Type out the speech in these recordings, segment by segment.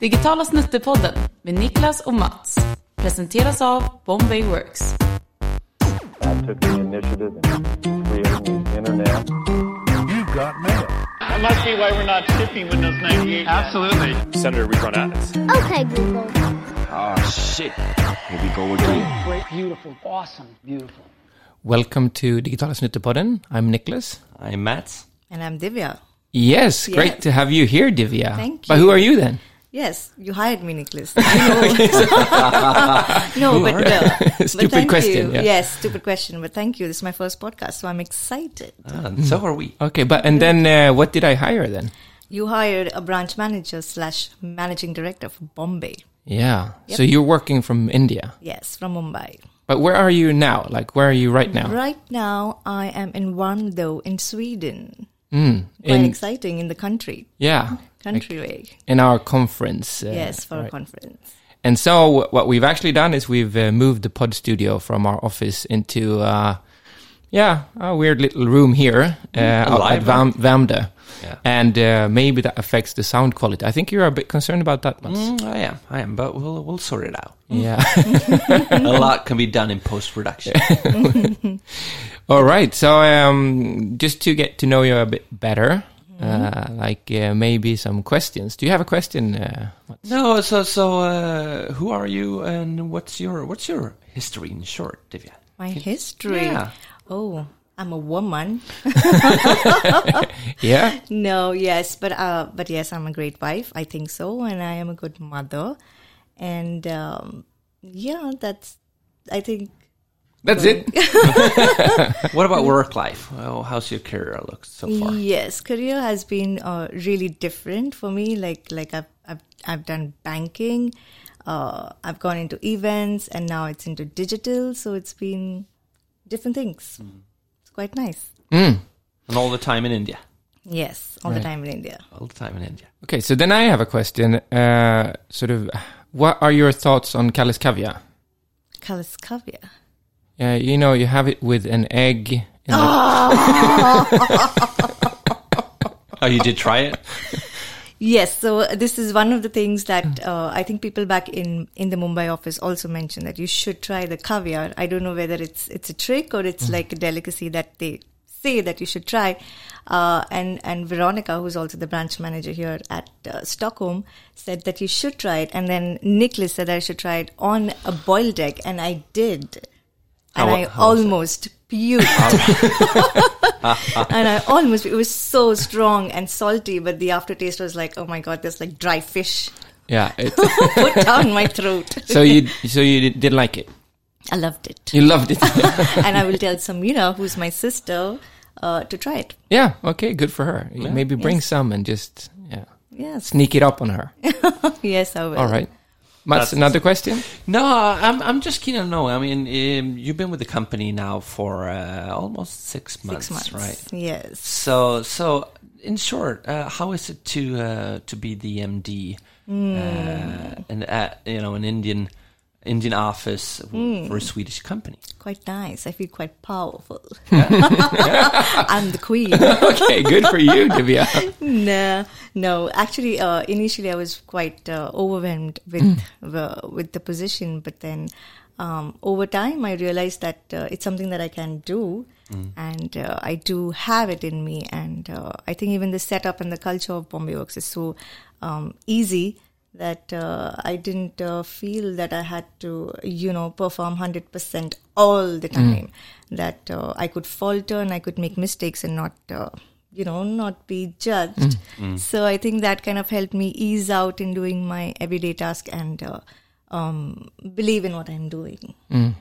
Digitala snuttepodden med Niklas och Mats. Presenteras av Bombay Works. I took the initiative in creating the internet. You've got mail. I must see why we're not shipping Windows 98. yet. Senator rerun ads. Okay, Google. Great, beautiful, awesome, beautiful. Welcome to Digitala Snuttepodden. I'm Nicholas. I'm Matt. And I'm Divya. Yes, great Yeah. to have you here, Divya. Thank But you. who are you then? Yes, you hired me, Nicholas. I know. no, but well. but Stupid thank question, You. yeah. Yes, stupid question. But thank you. This is my first podcast, so I'm excited. Uh. So are we. Okay, but and then uh, what did I hire then? You hired a branch manager slash managing director for Bombay. Yeah. Yep. So you're working from India. Yes, from Mumbai. But where are you now? Like where are you right now? Right now, I am in Varnado in Sweden. Quite In exciting in the country, yeah. country way. In our conference. uh, yes, for a right. conference. And so what we've actually done is we've uh, moved the pod studio from our office into uh, yeah a weird little room here uh, out at Mm-hmm. live Vam- Vamda. Yeah. And uh, maybe that affects the sound quality. I think you're a bit concerned about that, Mats. Mm, I am. I am. But we'll we'll sort it out. Yeah. a lot can be done in post production. All right. So, um, just to get to know you a bit better, uh, Mm-hmm. like uh, maybe some questions. Do you have a question? Uh, what- no. So so uh, who are you and what's your what's your history in short, Divya? My history. Yeah. Oh, I'm a woman. yeah. No, yes, but uh, but yes, I'm a great wife. I think so, and I am a good mother, and um, yeah, that's. I think That's it. What about work life? Well, how's your career look so far? yes, career has been uh, really different for me. Like like I've I've, I've done banking, uh, I've gone into events, and now it's into digital. So it's been different things. It's quite nice. And all the time in India. Yes, all the time in India. All the time in India. Okay. So then I have a question. Uh, sort of, what are your thoughts on Kalis Caviar? Kaliskavia. Uh, you know, you have it with an egg. in the- Oh, you did try it. Yes, so uh, this is one of the things that uh, I think people back in in the Mumbai office also mentioned that you should try the caviar. I don't know whether it's it's a trick or Mm. it's like a delicacy that they say that you should try. Uh, and and Veronica, who's also the branch manager here at uh, Stockholm, said that you should try it. And then Nicholas said I should try it on a boiled egg, and I did, How and wa- I how was it? almost puked and I almost it was so strong and salty, but the aftertaste was like, oh my god, there's like dry fish yeah. It, put down my throat. so you, so you did, did like it. I loved it, You loved it. and I will tell Samira, who's my sister, uh, to try it. yeah. Okay. Good for her. Maybe bring some and just yeah, Yes, sneak it up on her. yes, I will. All right. Mats, another question. No, I'm I'm just keen to know. I mean, um, you've been with the company now for uh, almost six months, six months, right? Yes. So, so in short, uh, how is it to uh, to be the MD uh, and at, you know an Indian Indian office w- for a Swedish company? Quite nice. I feel quite powerful. I'm the queen. okay, good for you, Divya. no, no. Actually, uh, initially I was quite uh, overwhelmed with the, with the position, but then um, over time I realized that uh, it's something that I can do, and uh, I do have it in me. And uh, I think even the setup and the culture of Bombay Works is so um, easy that uh, I didn't uh, feel that I had to, you know, perform 100% all the time. That uh, I could falter and I could make mistakes and not, uh, you know, not be judged. So I think that kind of helped me ease out in doing my everyday task and uh, um, believe in what I'm doing.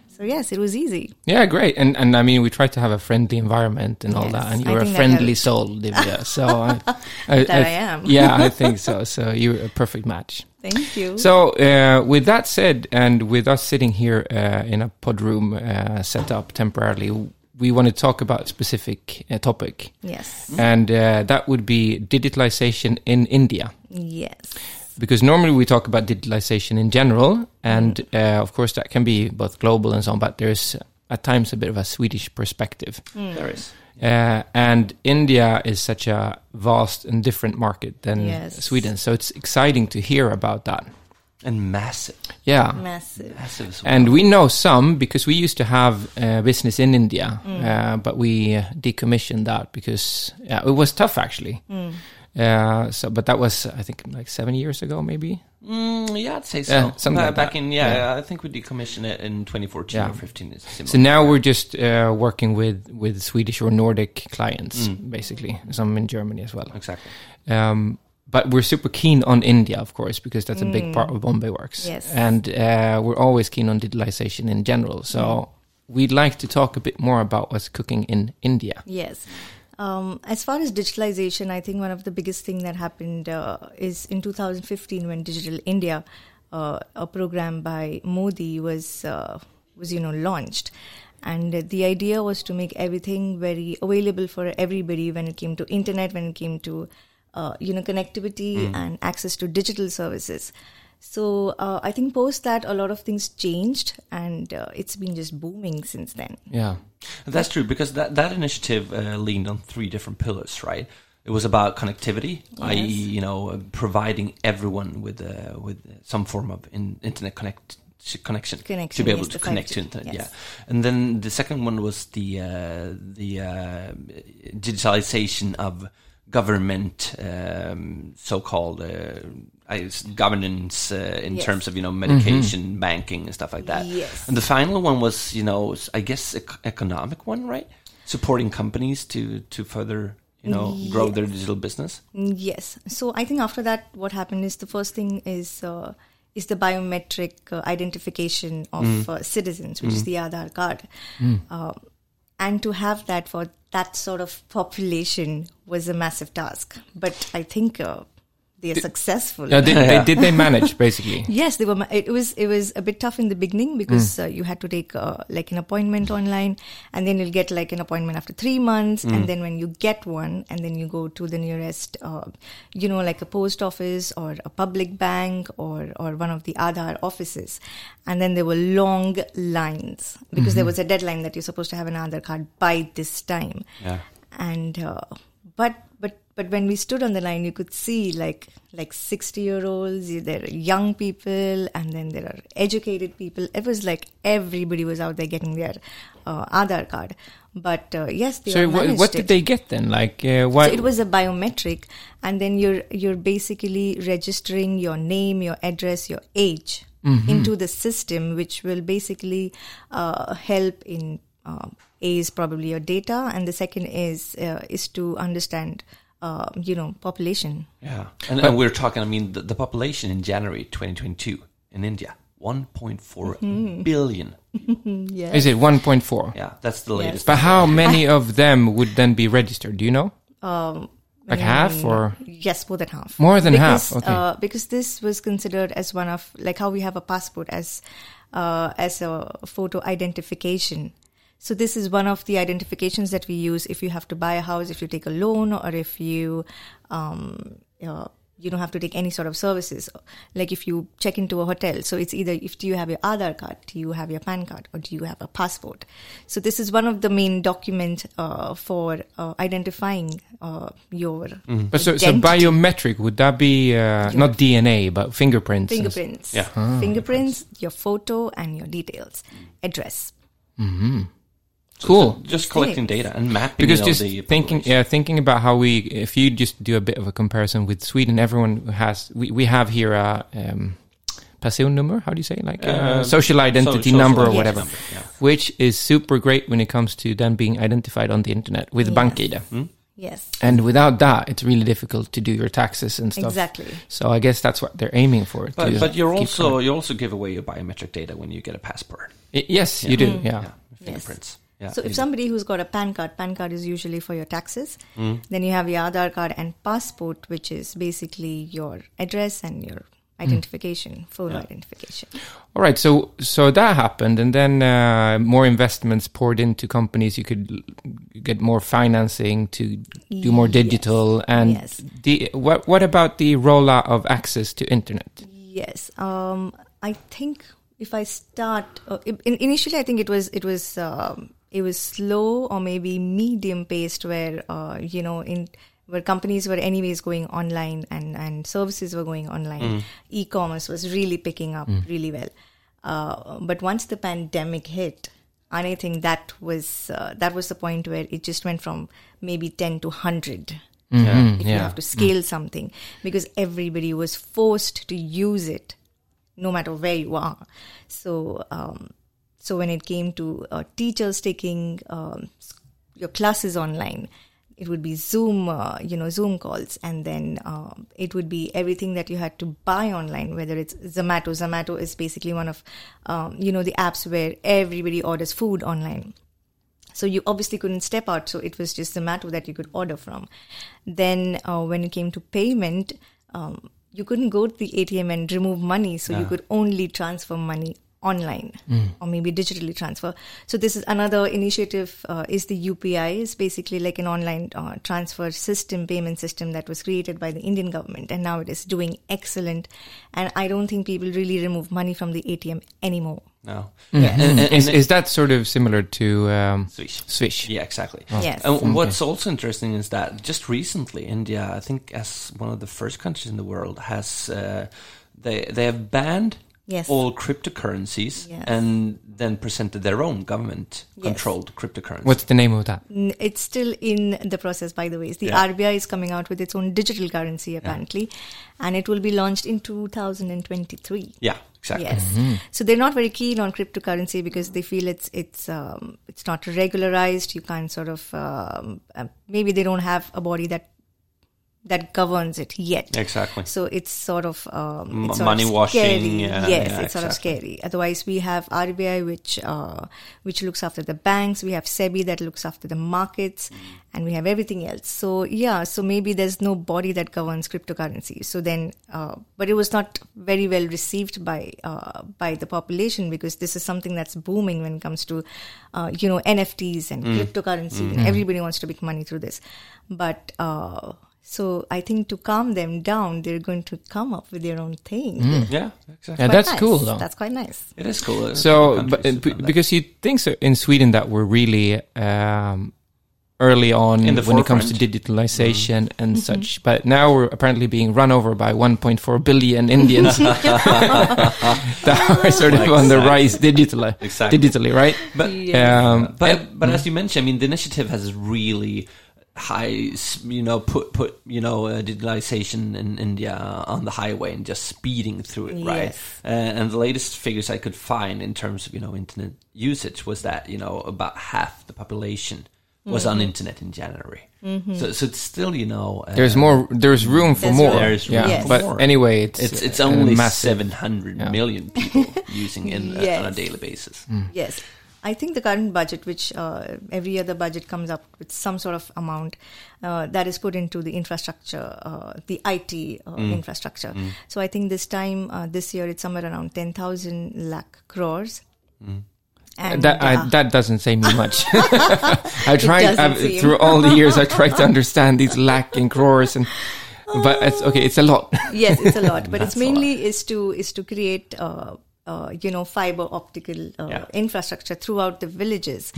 So, yes, it was easy. Yeah, great. And and I mean, we try to have a friendly environment and all Yes, that. And I you're a think that friendly helps. soul, Divya. So I, I, That I am. yeah, I think so. So you're a perfect match. Thank you. So uh, with that said, and with us sitting here uh, in a pod room uh, set up temporarily, we want to talk about a specific uh, topic, yes, and uh, that would be digitalization in India. yes. because normally we talk about digitalization in general, and uh, of course that can be both global and so on, but there's at times a bit of a Swedish perspective. There is. Uh, and India is such a vast and different market than Yes. Sweden, so it's exciting to hear about that. and massive, Yeah, Massive. massive. As well. and we know some because we used to have uh, business in India, uh, but we uh, decommissioned that because yeah, it was tough actually. Uh, so, but that was I think like seven years ago, maybe. Mm, yeah, I'd say so. Yeah, something Ba- like back that. in yeah, Yeah. I think we decommissioned it in 2014 Yeah. or 15. It's similar. So now we're just uh, working with with Swedish or Nordic clients, basically. Some in Germany as well. exactly. Um, but we're super keen on India, of course, because that's a big part of Bombay Works. Yes. And uh, we're always keen on digitalization in general. So we'd like to talk a bit more about what's cooking in India. Yes. Um, as far as digitalization, I think one of the biggest thing that happened uh, is in 2015 when Digital India, uh, a program by Modi, was uh, was you know launched, and the idea was to make everything very available for everybody when it came to internet, when it came to uh, you know connectivity and access to digital services. So uh, I think post that a lot of things changed, and uh, it's been just booming since then. Yeah. That's true because that that initiative uh, leaned on three different pillars, right? It was about connectivity, i.e., you know, uh, providing everyone with uh, with some form of in, internet connect connection, to Connection, be able yes, to the connect to 5G, internet. yes. Yeah, and then the second one was the uh, the uh, digitalization of government, um, so-called uh, I- governance uh, in Yes. terms of you know medication, banking, and stuff like that. Yes. Uh, And the final one was, you know, s- I guess ec- economic one, right? Supporting companies to to further, you know, grow their digital business. Yes. So I think after that, what happened is the first thing is uh, is the biometric uh, identification of uh, citizens, which is the Aadhaar card, Uh, and to have that for that sort of population was a massive task. But I think uh, they are successful. No, did, They, did they manage, basically? Yes, they were. ma- It was it was a bit tough in the beginning because uh, you had to take uh, like an appointment online, and then you'll get like an appointment after three months, and then when you get one, and then you go to the nearest, uh, you know, like a post office or a public bank or or one of the Aadhaar offices, and then there were long lines because there was a deadline that you're supposed to have an Aadhaar card by this time, Yeah. and uh, but but but when we stood on the line you could see like like 60 year olds you- there are young people and then there are educated people it was like everybody was out there getting their uh, aadhaar card but uh, yes they so all what, managed what did it. they get then? Like, uh, why? So it was a biometric and then you're you're basically registering your name your address your age into the system which will basically uh, help in uh, a is probably your data and the second is uh, is to understand uh, you know population Yeah. And, and we're talking, I mean, the, the population in January 2022 in India, 1.4 Mm-hmm. billion. yeah Is it 1.4? Yeah, that's the latest. But how many of them would then be registered? Do you know? Um, like half mm, or? yes more than half More than half, because, okay. uh, because this was considered as one of like how we have a passport as uh, as a photo identification so this is one of the identifications that we use if you have to buy a house if you take a loan or if you um, uh, you don't have to take any sort of services like if you check into a hotel so it's either if do you have your aadhaar card do you have your pan card or do you have a passport so this is one of the main document uh, for uh, identifying uh, your Mm. But so, so Identity. biometric, would that be uh, not DNA, but fingerprints? and- fingerprints. Yeah. Mm. fingerprints, your photo and your details, address. Cool. Just collecting data and mapping because you know, just the thinking population. yeah thinking about how we if you just do a bit of a comparison with sweden everyone has we, we have here a um person number how do you say like uh, Uh, social identity social number or identity whatever number, yeah. which is super great when it comes to then being identified on the internet with Yes. Hmm? bank data Yes, and without that it's really difficult to do your taxes and stuff exactly. so i guess that's what they're aiming for But, to but you're keep also track. you also give away your biometric data when you get a passport, I- yes you do Mm-hmm. yeah, yeah, fingerprints. Yeah, So if it- somebody who's got a PAN card, PAN card is usually for your taxes. Mm. Then you have your Aadhaar card and passport, which is basically your address and your Mm. identification, photo identification. All right, so so that happened, and then uh, more investments poured into companies. You could l- get more financing to do more digital, and Yes. the what what about the rollout of access to internet? Yes, um, I think if I start uh, in, initially, I think it was it was um, it was slow or maybe medium paced where uh, you know in where companies were anyways going online and and services were going online e-commerce was really picking up really well uh, but once the pandemic hit and i think that was uh, that was the point where it just went from maybe 10 to 100 Mm-hmm. if you yeah. Mm. have to scale something because everybody was forced to use it no matter where you are so um, so when it came to uh, teachers taking um, s- your classes online it would be zoom uh, you know zoom calls and then um, it would be everything that you had to buy online whether it's zomato zomato is basically one of um, you know the apps where everybody orders food online so you obviously couldn't step out, so it was just the matter that you could order from. Then uh, when it came to payment, um, you couldn't go to the ATM and remove money, so you could only transfer money online or maybe digitally transfer. So this is another initiative uh, is the UPI is basically like an online uh, transfer system, payment system that was created by the Indian government, and now it is doing excellent. And I don't think people really remove money from the ATM anymore. No. Mm-hmm. Yeah, and- and- Is, and- is that sort of similar to um, Swish. Swish? Yeah, exactly. Oh. Yes. And what's also interesting is that just recently, India, I think, as one of the first countries in the world, has uh, they they have banned Yes. all cryptocurrencies Yes. and then presented their own government-controlled cryptocurrency. What's the name of that? N- It's still in the process, by the way. The Yeah. RBI is coming out with its own digital currency, apparently, and it will be launched in 2023. Yeah, exactly. Yes, so they're not very keen on cryptocurrency because they feel it's it's um, it's not regularized. You can't sort of um, uh, maybe they don't have a body that that governs it yet. Exactly. So it's sort of, M- um, it's sort money of washing, Scary. yeah, yes, yeah, it's sort of exactly. scary. Otherwise, we have RBI, which uh, which looks after the banks. We have SEBI that looks after the markets, Mm. and we have everything else. So yeah, so maybe there's no body that governs cryptocurrency. So then, uh, but it was not very well received by uh, by the population because this is something that's booming when it comes to uh, you know NFTs and Mm. cryptocurrency. Mm-hmm. And everybody wants to make money through this, but. Uh, so I think to calm them down, they're going to come up with their own thing. Yeah, exactly. Yeah, Quite Mm. that's nice. cool though. That's quite nice. It is cool. There's a so, couple countries but, b- who've done that. because you think so in Sweden that we're really um, early on In the when it comes to forefront. Mm-hmm. digitalization and Mm-hmm. such, but now we're apparently being run over by 1.4 billion Indians that are sort of on the rise digitally, Exactly. digitally, right? But- um, but and- mm. but as you mentioned, I mean, the initiative has really high, s- you know, put put you know uh, digitalization in India on the highway and just speeding through it, right? Yes. Uh, and the latest figures I could find in terms of you know internet usage was that you know about half the population was Mm-hmm. on internet in January. So so it's still you know uh, there's more. There's room for There's more. room. There's room yeah. Yes. for But more. anyway, it's It's it's a only massive- seven hundred Yeah. Mm. million people using it uh, on a Yes. daily basis. Yes. I think the current budget, which uh, every other budget comes up with some sort of amount uh, that is put into the infrastructure, uh, the IT uh, infrastructure. So I think this time, uh, this year, it's somewhere around 10,000 lakh crores. And That uh, I, that doesn't say me much. I tried doesn't I've, seem. through all the years. I tried to understand these lack and crores, and but it's okay. It's a lot. yes, it's a lot, but it's That's a lot. mainly is to is to create. Uh, uh, you know, fiber optical uh, Yeah. Hmm. infrastructure throughout the villages,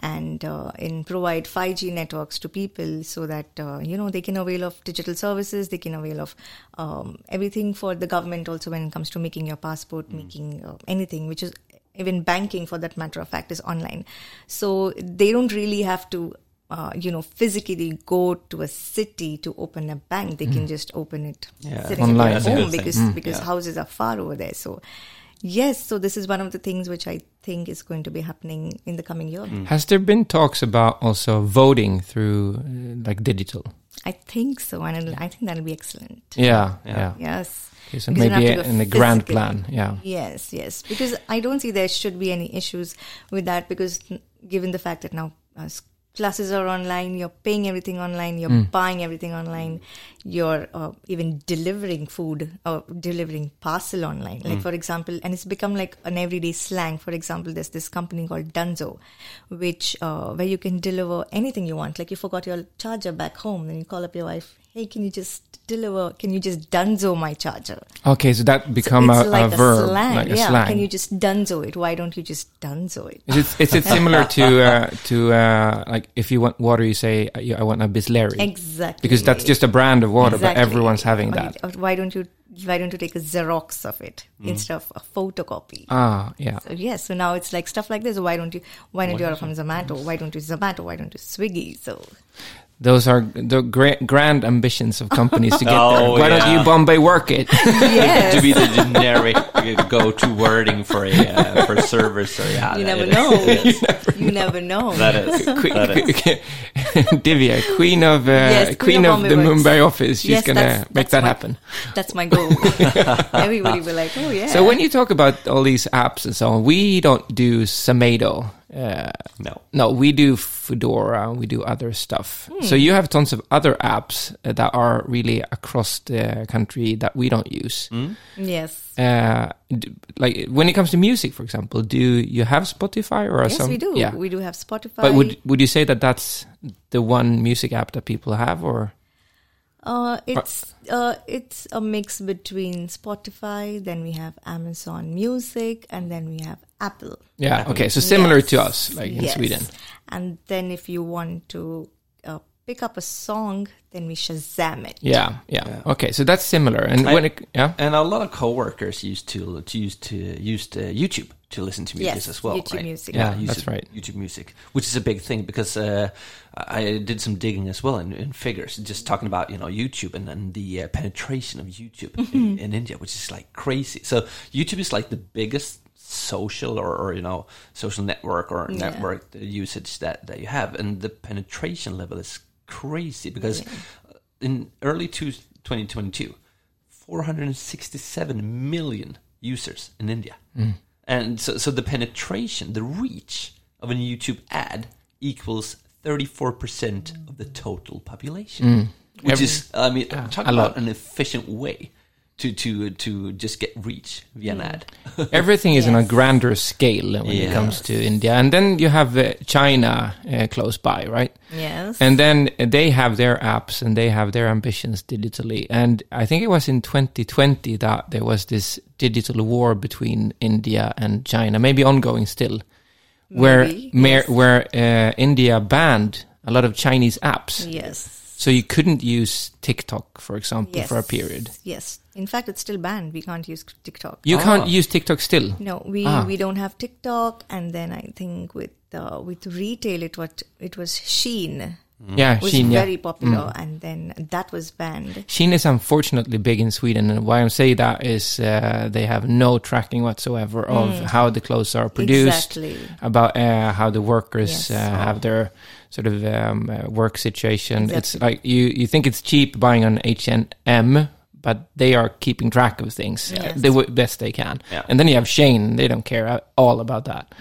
and uh, in provide 5G networks to people so that uh, you know they can avail of digital services, they can avail of um, everything for the government also when it comes to making your passport, Hmm. making uh, anything, which is even banking for that matter of fact is online. So they don't really have to uh, you know physically go to a city to open a bank. They Hmm. can just open it Yeah. sitting at Online. their That's a home good thing. Oh, because because houses are far over there. So yes, so this is one of the things which I think is going to be happening in the coming year. Has there been talks about also voting through uh, like digital? I think so, and it'll, I think that'll be excellent. Yeah, yeah. Yes. Okay, so Because you don't maybe have to go in the grand physically. plan. Yeah. Yes, yes, because I don't see there should be any issues with that because n- given the fact that now uh, s- classes are online, you're paying everything online, you're buying everything online, you're uh, even delivering food or delivering parcel online. Like, for example, and it's become like an everyday slang. For example, there's this company called Dunzo, which, uh, where you can deliver anything you want. Like, you forgot your charger back home, then you call up your wife, hey, can you just deliver, can you just Dunzo my charger? Okay, so that become it's a, like a verb, slang. like a yeah. slang. Can you just dunzo it? Why don't you just dunzo it? Is it, is it similar to uh, to uh, like if you want water, you say "I- I want a Bisleri? Exactly. Because that's just a brand of water, Exactly. but everyone's having Or- that. Mm. or Why don't you why don't you take a Xerox of it instead of a photocopy? Ah, yeah. So yes, so now it's like stuff like this. Why don't you? Why not you are from Zomato? Why don't you Zomato? Why don't you Swiggy? So Those are the gra- grand ambitions of companies to get there. Oh, Why don't yeah. you Bombay work it? to yes, be the generic uh, go-to wording for a uh, for servers. So yeah, you that- never it is- know. it is. you never know. That is. Queen, That is. Divya, queen of uh, queen, Yes, Queen of of, the Bombay works. Mumbai office. She's Yes, gonna that's- make that's that my- happen. That's my goal. Everybody will like, oh yeah. So when you talk about all these apps and so on, we don't do Samado. Uh, No. no, we do Fedora. We do other stuff. So Hmm. you have tons of other apps uh, that are really across the country that we don't use. Hmm. yes. Uh, d- like when it comes to music, for example, do you have Spotify or Yes, some? we do. Yeah. We do have Spotify. but would would you say that that's the one music app that people have, or Uh, it's uh, it's a mix between Spotify, then we have Amazon Music, and then we have Apple. yeah? Okay, so similar to Yes. us, like in Yes. Sweden. And then if you want to uh, pick up a song, then we Shazam it. Yeah, yeah, Okay, so that's similar. And I- when it, yeah, And a lot of coworkers used to to use to used uh, YouTube to listen to music Yes, as well. YouTube right? music. Yeah, use that's it- right. YouTube music, which is a big thing because uh, I did some digging as well in, in figures, just talking about you know YouTube and, and the uh, penetration of YouTube Mm-hmm. in, in India, which is like crazy. So YouTube is like the biggest social or, or you know social network or Yeah. network usage that that you have, and the penetration level is crazy because in early two, 2022, 467 million users in India. Hmm. And so, so the penetration, the reach of a YouTube ad equals 34% of the total population. Which Hmm. Every- is, I mean, talk a about lot. an efficient way to, to, to just get reach via Hmm. an ad. everything is on a Yes. grander scale when it Yeah. comes to India. And then you have uh, China uh, close by, right? Yes. And then they have their apps and they have their ambitions digitally. And I think it was in 2020 that there was this digital war between India and China, maybe ongoing still, where Maybe, mer- yes. where uh, India banned a lot of Chinese apps. yes. So you couldn't use TikTok, for example, Yes. for a period. Yes. In fact, it's still banned. We can't use TikTok. You Ah. can't use TikTok still. No, we Ah. we don't have TikTok. And then I think with uh, with retail, it what it was Sheen Yeah, Mm-hmm. was Shein, yeah. Mm. very popular, and then that was banned. Shein is unfortunately big in Sweden, and why I'm saying that is uh, they have no tracking whatsoever of how the clothes are produced, Mm. Exactly. about uh, how the workers Yes. uh, have their sort of um, uh, work situation. It's Exactly. like you you think it's cheap buying on H&M, but they are keeping track of things uh, Yes. the w- best they can. Yeah. And then you have Shane; they don't care at all about that.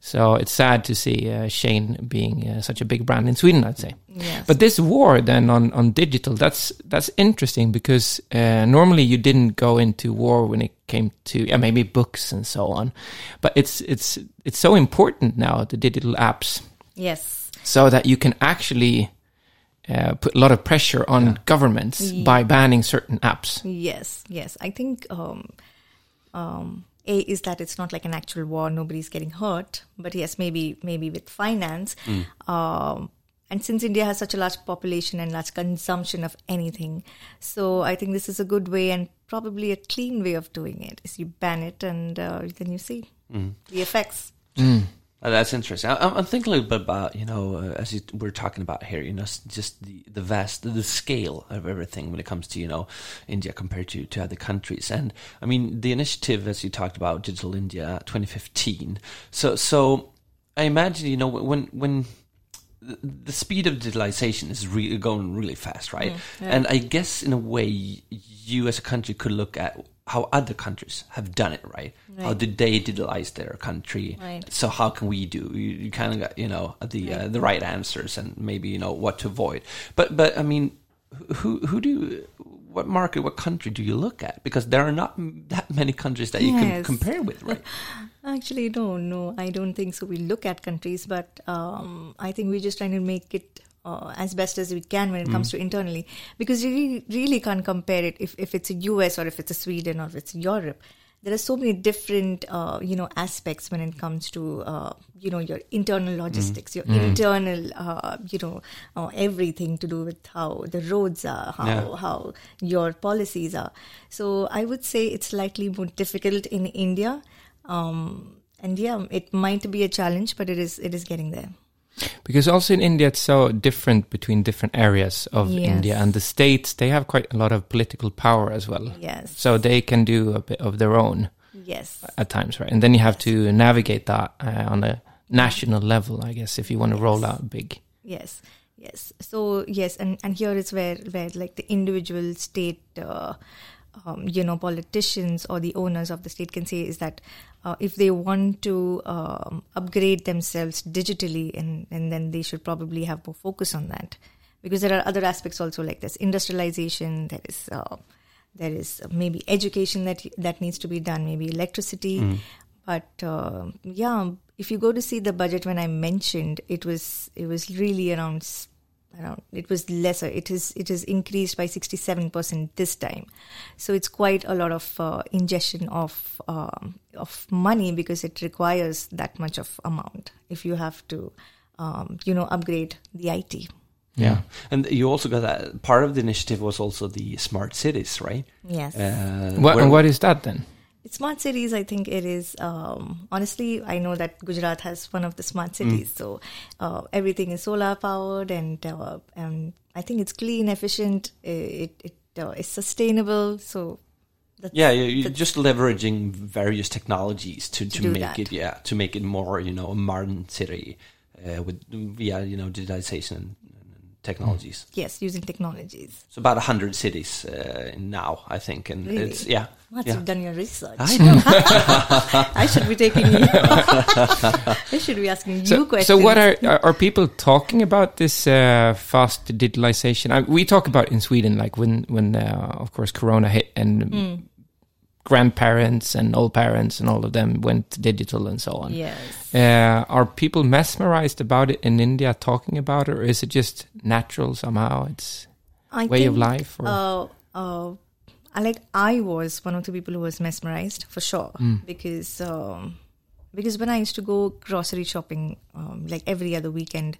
So it's sad to see uh, Shane being uh, such a big brand in Sweden, I'd say. Yes. But this war then on, on digital, that's that's interesting because uh, normally you didn't go into war when it came to yeah, maybe books and so on, but it's it's it's so important now the digital apps Yes. so that you can actually uh, put a lot of pressure on governments by banning certain apps. Yes. Yes. I think um, um, a is that it's not like an actual war; nobody's getting hurt. But yes, maybe maybe with finance, um, and since India has such a large population and large consumption of anything, so I think this is a good way and probably a clean way of doing it. Is you ban it and uh, then you see the effects. Uh, that's interesting. I, I'm I'm thinking a little bit about you know uh, as you, we're talking about here, you know, s- just the the vast the scale of everything when it comes to you know India compared to to other countries, and I mean the initiative as you talked about Digital India 2015. So so I imagine you know when when the- the speed of digitalization is really going really fast, right? Mm, And I guess in a way, y- you as a country could look at how other countries have done it, right? How Right. did they digitalize their country? Right. So how can we do? You, you kind of got you know the uh, the right answers and maybe you know what to avoid. But but I mean, who who do you, what market what country do you look at because there are not m- that many countries that you can Yes. compare with right Actually, no, no, I don't think so. We look at countries, but um, I think we're just trying to make it uh, as best as we can when it comes to internally, because you really, really can't compare it if, if it's a US or if it's a Sweden or if it's Europe. There are so many different, uh, you know, aspects when it comes to, uh, you know, your internal logistics, your internal, uh, you know, uh, everything to do with how the roads are, how Yeah. how your policies are. So I would say it's slightly more difficult in India and yeah it might be a challenge but it is it is getting there Because also in India, it's so different between different areas of Yes. India and the states. They have quite a lot of political power as well. Yes. So they can do a bit of their own yes at times, right? And then you have to navigate that uh, on a national level, I guess, if you want to roll out big. yes yes so yes and and here is where where like the individual state uh, um, you know politicians or the owners of the state can say is that uh, if they want to um, upgrade themselves digitally and and then they should probably have more focus on that because there are other aspects also like this industrialization there is uh, there is uh, maybe education that that needs to be done maybe electricity but uh, yeah if you go to see the budget when i mentioned it was it was really around s- around it was lesser it is it is increased by 67% this time so it's quite a lot of uh, ingestion of um, of money because it requires that much of amount if you have to um, you know upgrade the IT yeah and you also got that part of the initiative was also the smart cities right yes uh, What, where- and what is that then? smart cities i think it is um, honestly i know that gujarat has one of the Mm. smart cities so uh, everything is solar powered and, uh, and i think it's clean efficient it, it uh, is sustainable so that's, yeah you- you're that's- just leveraging various technologies to, to, do make that. it yeah to make it more you know a modern city uh, with yeah you know digitization and, and technologies Mm. yes using technologies it's about 100 cities uh, now i think and Really? it's yeah Mats, yeah. you've done your research. I know. I should be taking you. I should be asking you So, questions. so what are, are are people talking about this uh, fast digitalization? I, we talk about in Sweden, like when when uh, of course Corona hit and grandparents and old parents and all of them went digital and so on. Yes. Uh, are people mesmerized about it in India talking about it, or is it just natural somehow? It's I way of think, life or- Uh, uh, I like I was one of the people who was mesmerized for sure Hmm. because um, because when I used to go grocery shopping um, like every other weekend.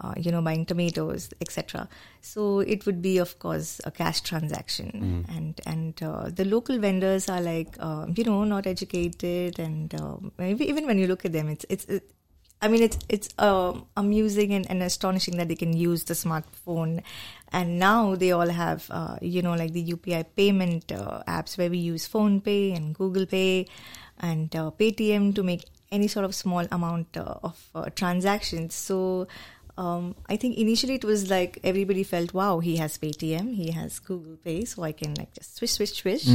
Uh, you know, buying tomatoes, etc. So it would be, of course, a cash transaction, Hmm. and and uh, the local vendors are like, uh, you know, not educated, and um, maybe even when you look at them, it's it's it, I mean, it's it's um amusing and, and astonishing that they can use the smartphone, and now they all have uh, you know like the UPI payment uh, apps where we use Phone Pay and Google Pay and uh, Paytm to make any sort of small amount uh, of uh, transactions. So um, I think initially it was like everybody felt, wow, he has Paytm, he has Google Pay, so I can like just swish, swish, swish.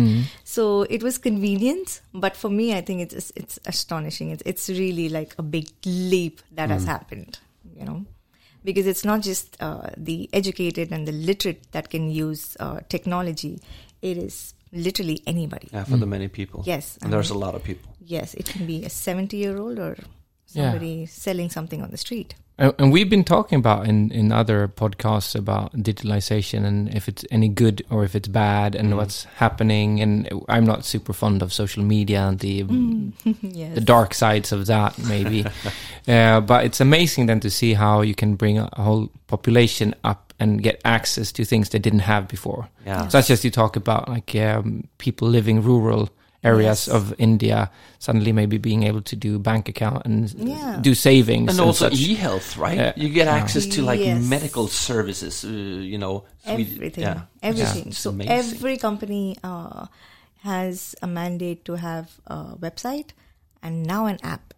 So it was convenience, but for me, I think it's it's, it's astonishing. It's it's really like a big leap that has happened, you know, because it's not just uh, the educated and the literate that can use uh, technology; it is literally anybody. Yeah, for Mm. the many people. Yes, And I there's a mean- lot of people. Yes, it can be a seventy-year-old or Yeah. somebody selling something on the street. And and we've been talking about in, in other podcasts about digitalization and if it's any good or if it's bad and Mm. what's happening. And I'm not super fond of social media and the Mm. yes. the dark sides of that, maybe. uh, but it's amazing then to see how you can bring a whole population up and get access to things they didn't have before. Yeah. Such as you talk about, like um, people living rural areas Yes. of India suddenly maybe being able to do bank account and Yeah. do savings And also such. e health, right? Yeah. You get access to like Yes. medical services, uh, you know. Sweden- everything yeah. everything It's so amazing. every company uh, has a mandate to have a website and now an app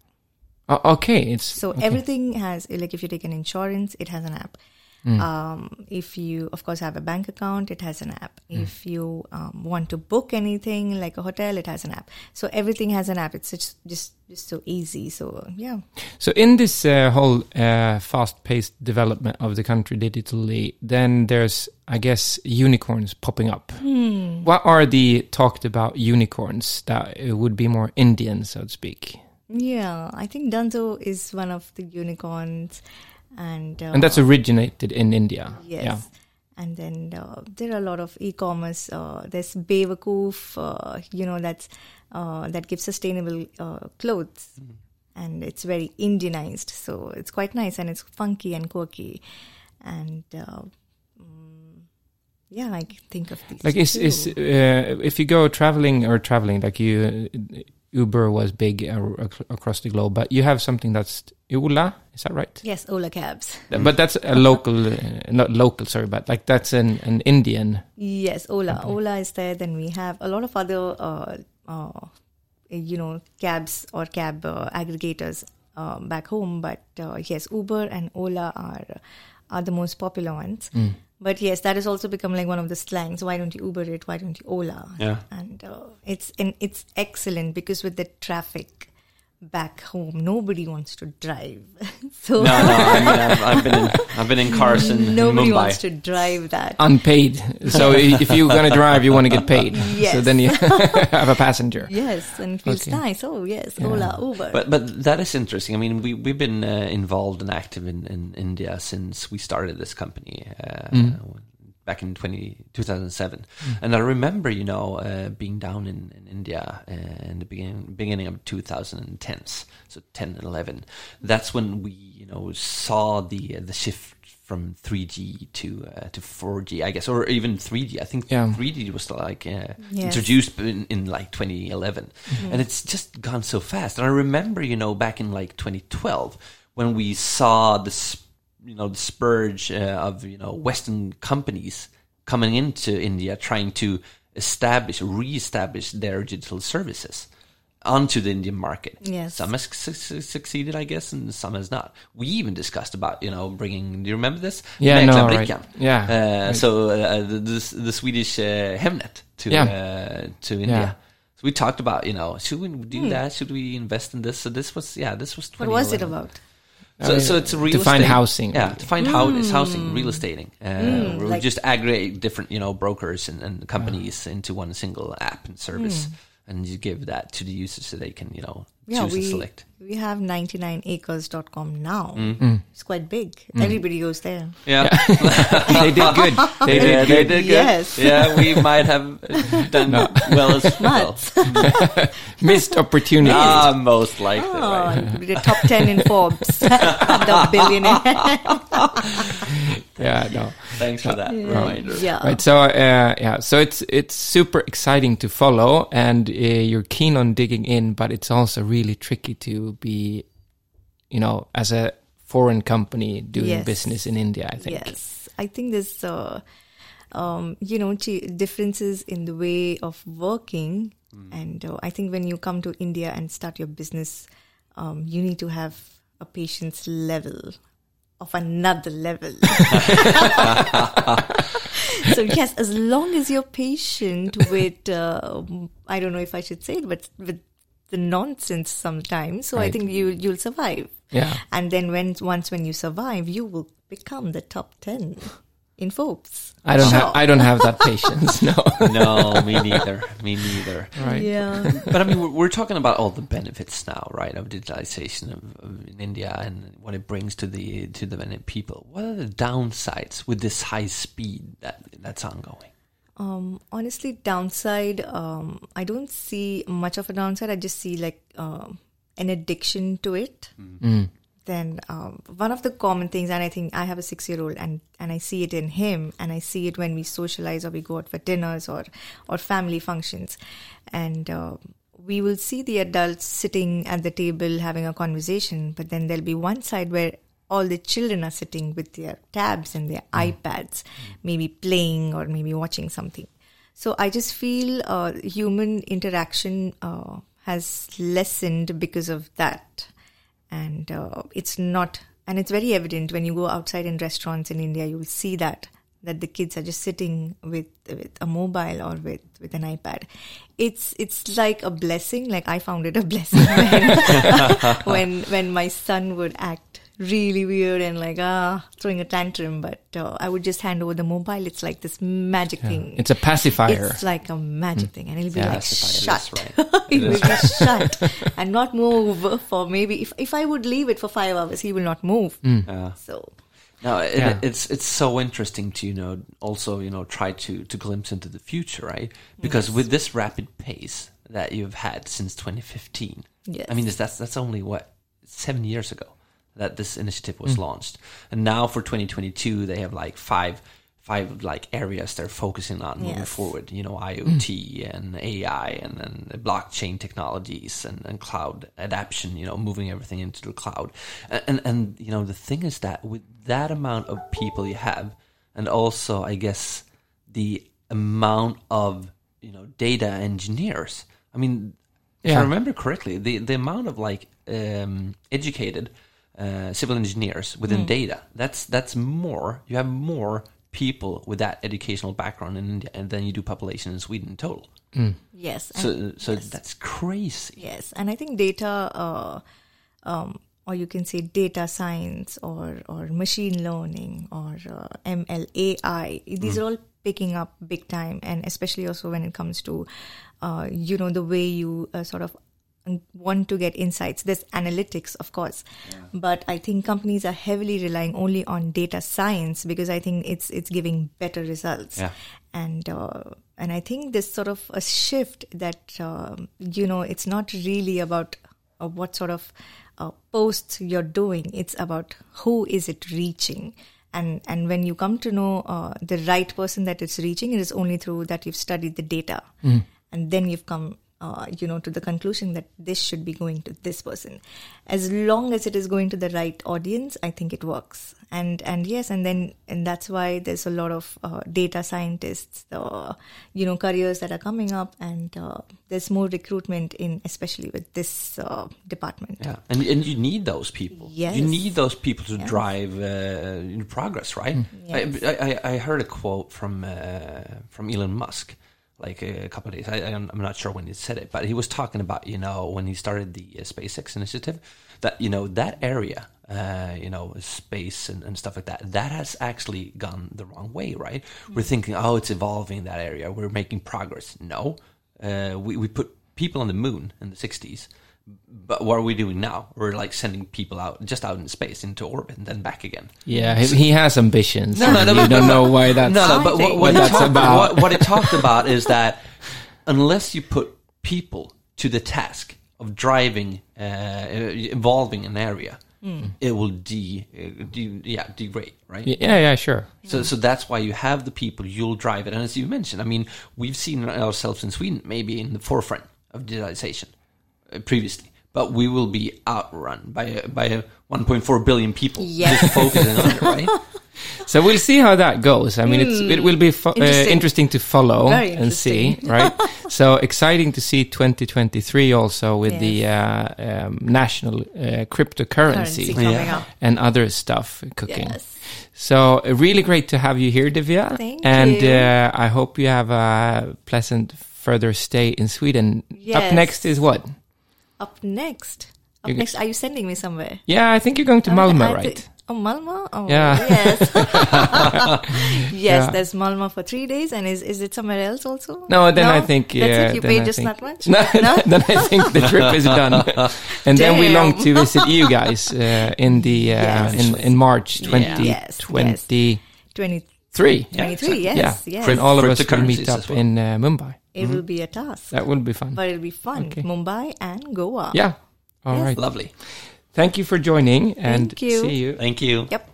O- okay, it's so everything has like if you take an insurance it has an app Mm. Um, if you, of course, have a bank account, it has an app. Mm. If you um, want to book anything like a hotel, it has an app. So everything has an app. It's just just, just so easy. So yeah, So in this uh, whole uh, fast-paced development of the country digitally, then there's, I guess, unicorns popping up. What are the talked about unicorns that uh, would be more Indian, so to speak? yeah. I think Dunzo is one of the unicorns, and uh, And that's originated in India. Yes. And then uh, there are a lot of e-commerce. Uh, there's Bewakoof, uh, you know, that's uh, that gives sustainable uh, clothes, Mm-hmm. and it's very Indianized, so it's quite nice and it's funky and quirky, and uh, mm, yeah, I can think of these. Like is is two. uh, if you go traveling or traveling, like you, uh, Uber was big uh, ac- across the globe, but you have something that's Ula, is that right? yes, Ola cabs. But that's a local, uh, not local, sorry, but like that's an, an Indian. Yes, Ola. Ola is there. Then we have a lot of other, uh, uh, you know, cabs or cab uh, aggregators um, back home. But uh, yes, Uber and Ola are are the most popular ones. Hmm. But yes, that has also become like one of the slangs. Why don't you Uber it? Why don't you Ola? Yeah. and uh, it's and it's excellent because with the traffic back home, nobody wants to drive. No, so no. I mean, I've, I've been in, I've been in cars in, in nobody Mumbai. Um, wants to drive that. unpaid. So i- if you're gonna drive, you want to get paid. Yes. So then you have a passenger. Yes, and it feels Okay. nice. Oh yes, Ola, Uber. But but that is interesting. I mean, we we've been uh, involved and active in, in India since we started this company uh, back in 20, 2007. And I remember, you know, uh, being down in, in India uh, in the beginning beginning of 2010s, so 10 and 11. That's when we, you know, saw the uh, the shift from 3G to uh, to 4G, I guess, or even 3G. I think Yeah. 3G was like uh, Yes. Mm-hmm. introduced in, in like 2011 and it's just gone so fast and i remember you know back in like 2012 when we saw this you know the spurge uh, of you know western companies coming into india trying to establish re-establish their digital services onto the indian market Yes. some has su- su- succeeded i guess and some has not we even discussed about you know bringing do you remember this Yeah, no, right. Mäklarbrickan. Yeah. Uh, so uh, the, the, the Swedish uh, Hemnet to Yeah. uh, to India. Yeah. So we talked about you know should we do that? Should we invest in this? So this was yeah this was Hmm. What was it 2011. about? So, so it's real to find estate. housing. Yeah, to find how it's housing, real estating. Uh, where we Hmm. like- just aggregate different, you know, brokers and, and companies into one single app and service, and you give that to the users so they can, you know, Hmm. Yeah, choose we and select. Mm. we have 99acres.com now. It's quite big. Everybody goes there. Yeah, they did good. They did Yeah, good. they did good. Yes. Yeah, we might have done well as well. Nuts. Missed opportunity. Ah, most likely. Oh, Right? you could be the top 10 in Forbes. the billionaire. yeah, no. Thanks for that reminder. yeah. Right. So uh, yeah. So it's it's super exciting to follow, and uh, you're keen on digging in, but it's also really tricky to be, you know, as a foreign company doing Yes. business in India. I think. Yes, I think there's, uh, um, you know, chi- differences in the way of working, Mm. and uh, I think when you come to India and start your business, um, you need to have a patience level of another level. so yes, as long as you're patient with, uh, I don't know if I should say it, but with the nonsense sometimes, so I Right. think you you'll survive. Yeah. And then when once when you survive, you will become the top ten in Forbes. I don't Sure. have I don't have that patience. No. No, me neither. Me neither. Right. Yeah. But I mean, we're, we're talking about all the benefits now, right, of digitalization of, of in India and what it brings to the to the many people. What are the downsides with this high speed that that's ongoing? um, honestly, downside. Um, I don't see much of a downside. I just see like um, an addiction to it. Then um, one of the common things, and I think I have a six-year-old, and and I see it in him, and I see it when we socialize or we go out for dinners or or family functions, and. um we will see the adults sitting at the table having a conversation, but then there'll be one side where all the children are sitting with their tabs and their iPads, maybe playing or maybe watching something. So I just feel uh, human interaction uh, has lessened because of that, and uh, it's not And it's very evident when you go outside in restaurants in India, you'll see that that the kids are just sitting with with a mobile or with with an iPad. It's it's like a blessing. Like I found it a blessing when when, when my son would act really weird and like ah throwing a tantrum, but uh, I would just hand over the mobile. It's like this magic thing. It's a pacifier. It's like a magic thing, and it'll be Yeah, like that's shut. right. it will be shut and not move for maybe if if I would leave it for five hours, he will not move. So No, it, Yeah. it's it's so interesting to you know also you know try to to glimpse into the future, right? Because with this rapid pace that you've had since 2015, Yes. I mean is that's that's only what seven years ago that this initiative was launched, and now for 2022 they have like five five like areas they're focusing on moving Yes. forward. You know, IoT and AI and then blockchain technologies and, and cloud adaption. You know, moving everything into the cloud. And, and and you know the thing is that with that amount of people you have, and also I guess the amount of you know data engineers. I mean, if I Yeah. remember correctly, the the amount of like um, educated uh, civil engineers within data that's that's more. You have more people with that educational background in India, and then you do population in Sweden in total. yes, and- So so that's crazy. Yes, and I think data, uh, um, or you can say data science, or or machine learning, or uh, ML AI. These are all picking up big time, and especially also when it comes to, uh, you know, the way you uh, sort of want to get insights. There's analytics, of course, but I think companies are heavily relying only on data science because I think it's it's giving better results Yeah. and uh, and I think this sort of a shift that um, you know it's not really about uh, what sort of uh, posts you're doing; it's about who is it reaching. And and when you come to know uh, the right person that it's reaching, it is only through that you've studied the data, and then you've come. Uh, you know, to the conclusion that this should be going to this person, as long as it is going to the right audience, I think it works. And and yes, and then and that's why there's a lot of uh, data scientists, uh, you know, careers that are coming up, and uh, there's more recruitment in, especially with this uh, department. Yeah, and and you need those people. Yes. you need those people to drive uh, progress, right? I, I I heard a quote from uh, from Elon Musk like a couple of days. I, I'm I'm not sure when he said it, but he was talking about you know when he started the uh, SpaceX initiative that you know that area. Uh, you know, space and, and stuff like that. That has actually gone the wrong way, right? We're thinking, oh, it's evolving that area. We're making progress. No, uh, we we put people on the moon in the '60s, but what are we doing now? We're like sending people out just out in space into orbit and then back again. yeah, he, he has ambitions. No, no, and no, you but- don't know why that's No, no. But what, what, what, it that's talked, about. what, what it talked about is that unless you put people to the task of driving, uh, evolving an area, Mm. it will de, uh, de yeah degrade, right? yeah, yeah, sure. So, so that's why you have the people. You'll drive it, and as you mentioned, I mean, we've seen ourselves in Sweden maybe in the forefront of digitalization uh, previously, but we will be outrun by a, by a 1.4 billion people Yes. just focusing on it, right? So we'll see how that goes. I mean, it's, it will be fo- interesting. Interesting. Uh, interesting to follow Very and see, right? so exciting to see 2023 also with the uh, um, national uh, Currency cryptocurrency coming up. and other stuff cooking. Yes. So uh, really great to have you here, Divya. Thank and you. Uh, I hope you have a pleasant further stay in Sweden. Up Yes. next is what? Up next, up You- next, are you sending me somewhere? Yeah, I think you're going to Um, Malmo, I right? thi- Oh, Malmo? Oh, Yeah. Yes. yes, Yeah. there's Malmo for three days. And is, is it somewhere else also? No, then I think That's yeah, it. You then paid I just think- that much? No, then I think the trip is done, and then we long Damn. to visit you guys uh, in the uh, Yes. in in March Yeah. twenty Yes, yes. twenty 20, three. 23, exactly. yes. yeah, yes. and all of us will Cryptocurrencies meet as up well. in uh, Mumbai. it will be a task. That will be fun. but it'll be fun. Mm-hmm. Okay. Mumbai and Goa. yeah. All right. Lovely. Thank you for joining, and Thank you. see you. Thank you. Yep.